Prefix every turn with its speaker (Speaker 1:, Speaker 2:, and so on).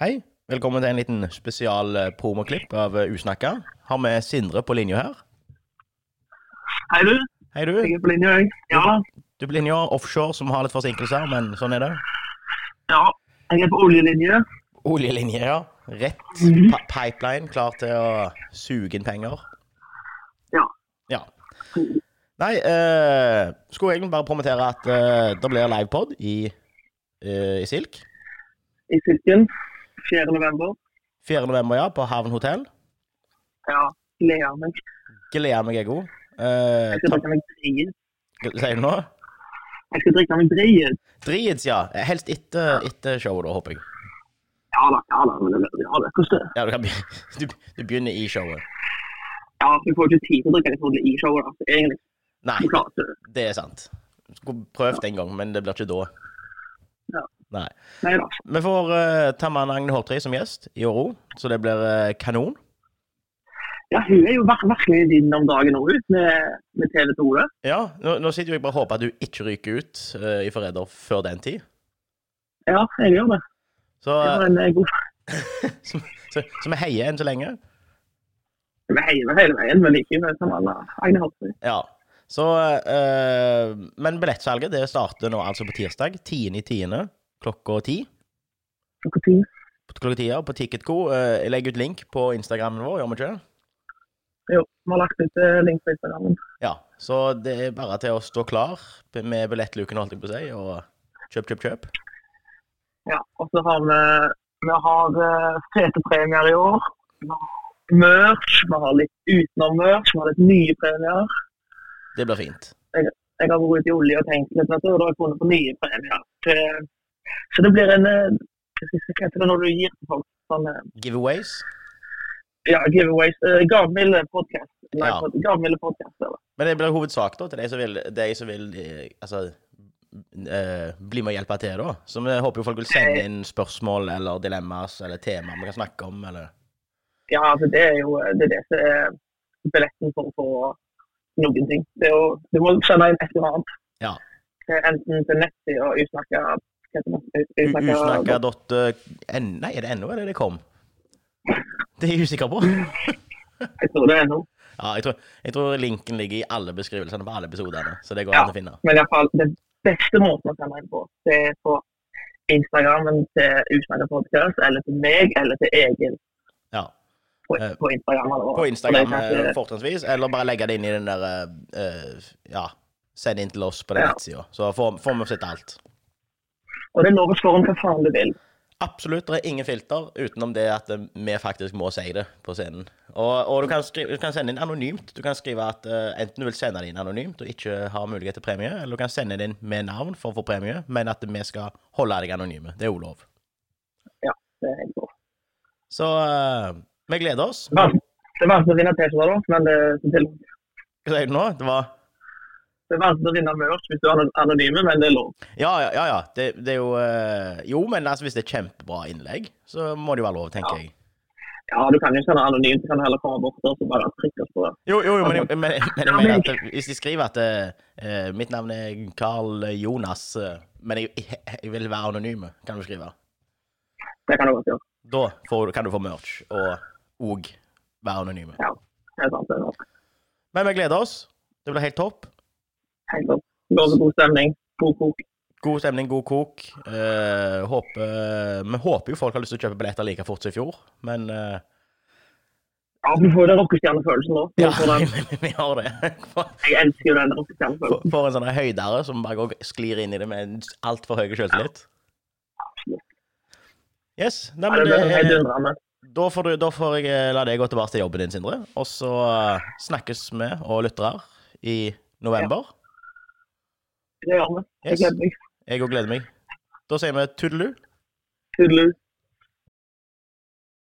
Speaker 1: Hei. Velkommen til en liten spesial eh, promoklipp av eh, Usnakka. Har vi Sindre på linja her.
Speaker 2: Hei, du.
Speaker 1: Hei, du.
Speaker 2: Jeg er på linje, jeg. Ja, da.
Speaker 1: Du på linja offshore, som har litt forsinkelser, men sånn er det.
Speaker 2: ja. Jeg er på oljelinje.
Speaker 1: Oljelinje, ja. Rett pa pipeline, klar til å suge inn penger.
Speaker 2: Ja.
Speaker 1: Ja. Nei, eh, skulle egentlig bare promotere at eh, det blir livepod i, eh, i Silk.
Speaker 2: I Silken. 4. november.
Speaker 1: 4. november, ja, på Havn hotell.
Speaker 2: Ja. Gleder meg.
Speaker 1: Gleder meg, jeg òg. Eh,
Speaker 2: Jeg skal
Speaker 1: ta-
Speaker 2: drikke meg drit.
Speaker 1: Sier du nå?
Speaker 2: Jeg skal drikke meg drit.
Speaker 1: Drits, ja. Helst etter, etter showet, da, håper jeg.
Speaker 2: Ja da, ja da. men det- Ja, det koster.
Speaker 1: Ja, du, kan be du, du begynner i showet.
Speaker 2: Ja, for jeg får ikke tid til å drikke litt ordentlig i showet, da. Så egentlig,
Speaker 1: Nei,
Speaker 2: jeg klarer ikke det.
Speaker 1: det er sant. Skulle prøvd en gang, men det blir ikke da.
Speaker 2: Ja.
Speaker 1: Nei.
Speaker 2: Nei da.
Speaker 1: Vi får uh, ta med Agne Hårtre som gjest i år òg, så det blir eh, kanon.
Speaker 2: Ja, hun er jo vir- virkelig din om dagen og ut med, med TV 2. det.
Speaker 1: Ja, nå, nå sitter jo jeg bare og håper at du ikke ryker ut eh, i Forræder før den tid.
Speaker 2: Ja, jeg gjør det.
Speaker 1: Så,
Speaker 2: Det var en eh, god
Speaker 1: så, så, så vi heier enn så lenge.
Speaker 2: Vi heier vel hele veien, men like med sånn som alle Agne Holte.
Speaker 1: Ja. Så, eh, men billettsalget det starter nå altså på tirsdag. 10.10. klokka ti.
Speaker 2: Klokka ti.
Speaker 1: klokka ti ja, på Ticketco. Eh, Jeg legger ut link på Instagrammen vår, gjør vi ikke det?
Speaker 2: Jo, vi har lagt ut eh, link på Instagram.
Speaker 1: Ja, så det er bare til å stå klar med billettluken, holdt jeg på å si, og kjøp, kjøp, kjøp.
Speaker 2: Ja, og så har vi, vi har eh, fete premier i år. Vi har merch, vi har litt utenom merch, vi har litt nye premier.
Speaker 1: Det blir fint.
Speaker 2: Jeg har vært ute i olje og tenkt litt, vet du, og da har jeg funnet på nye premier. Så- Så det blir en eh, Hva skal jeg si, hva heter det når du gir til folk sånn eh,
Speaker 1: Giveaways.
Speaker 2: ja, giveaways? Uh, Gavmilde podkast.
Speaker 1: Ja.
Speaker 2: Gavmilde podkast, eller?
Speaker 1: Men det blir hovedsak da, til de som vil, de som vil eh, altså, eh, bli med og hjelpe til da. Så vi håper jo folk vil sende inn spørsmål eller dilemmas eller temaer vi kan snakke om, eller...
Speaker 2: Ja, altså det er jo det, er det som er billetten for å få noen ting. Det er jo, du må sende inn et eller annet.
Speaker 1: Ja.
Speaker 2: Eh, Enten til nettsida og usnakka hva heter det?
Speaker 1: U-
Speaker 2: Usnakka-
Speaker 1: Usnakka.n... eh, Nei, er det ennå eller er det kom? Det er jeg usikker på.
Speaker 2: Jeg tror det er noe.
Speaker 1: Ja, jeg tror, jeg tror linken ligger i alle beskrivelsene på alle episoderne, så det går
Speaker 2: Ja.
Speaker 1: an å finne.
Speaker 2: Men i hvert fall, den beste måten å sende inn på, det er på Instagrammen til Usnakka podcast, eller til meg, eller til Egil
Speaker 1: Ja.
Speaker 2: på,
Speaker 1: Eh,
Speaker 2: på Instagram. Eller,
Speaker 1: På Instagram
Speaker 2: Og det er
Speaker 1: eh,
Speaker 2: kanskje-
Speaker 1: fortrinnsvis, eller bare legge det inn i den der eh, eh, Ja, send inn til oss på den
Speaker 2: Ja.
Speaker 1: nettsida, så får, får vi sett alt. eh.
Speaker 2: Og det er lov å spørre om hva faen du vil.
Speaker 1: Absolutt, det er ingen filter utenom det at eh, vi faktisk må si det på scenen. Og, og du, kan skri, du kan sende inn anonymt. Du kan skrive at eh, enten du vil sende det inn anonymt og ikke har mulighet til premie, eller du kan sende det inn med navn for å få premie, men at vi skal holde deg anonyme. Det er jo lov.
Speaker 2: Det er helt lov.
Speaker 1: Så eh, vi gleder oss.
Speaker 2: Det er vanskelig- det er vanskelig å vinne T-skjorter, da, men det er til
Speaker 1: Hva sier du nå? Det var
Speaker 2: Det er vanskelig å vinne merch hvis du er anonyme, men det er lov.
Speaker 1: Ja, ja, ja. ja. Det, det er jo eh, Jo, men altså, hvis det er kjempebra innlegg, så må det jo være lov, tenker
Speaker 2: Ja.
Speaker 1: jeg.
Speaker 2: Ja, du kan jo ikke være anonym, du kan heller komme bort og så bare trykke oss på det.
Speaker 1: Jo, jo, jo men, jeg- men, men jeg mener at det- hvis de skriver at eh, eh, mitt navn er Carl Jonas, eh, men jeg, jeg vil være anonym, kan du skrive.
Speaker 2: Det kan du godt gjøre.
Speaker 1: Da får, du- kan du få merch og og være anonym.
Speaker 2: Det er sant, det er sant.
Speaker 1: Men vi gleder oss. Det blir helt topp.
Speaker 2: Helt sant. Lov og god stemning, god kok.
Speaker 1: God stemning, god kok. Eh, håper, vi håper jo folk har lyst til å kjøpe billetter like fort som i fjor, men eh,
Speaker 2: Ja, du får den rockestjernefølelsen nå. Du
Speaker 1: ja,
Speaker 2: får den-
Speaker 1: vi har det.
Speaker 2: Jeg elsker jo den
Speaker 1: Får
Speaker 2: rockestjernefølelsen.
Speaker 1: får en sånn høydere som bare går, sklir inn i det med en altfor høy selvtillit. Yes. Nei,
Speaker 2: Ja,
Speaker 1: men eh,
Speaker 2: det er helt
Speaker 1: det,
Speaker 2: undrende.
Speaker 1: da, får du, da får jeg eh, la deg gå tilbake til jobben din, Sindre. Og så eh, snakkes vi og lyttere i november.
Speaker 2: Det gjør vi.
Speaker 1: Yes.
Speaker 2: Jeg gleder meg.
Speaker 1: Jeg òg gleder meg. Da sier vi tudelu.
Speaker 2: Toodaloo.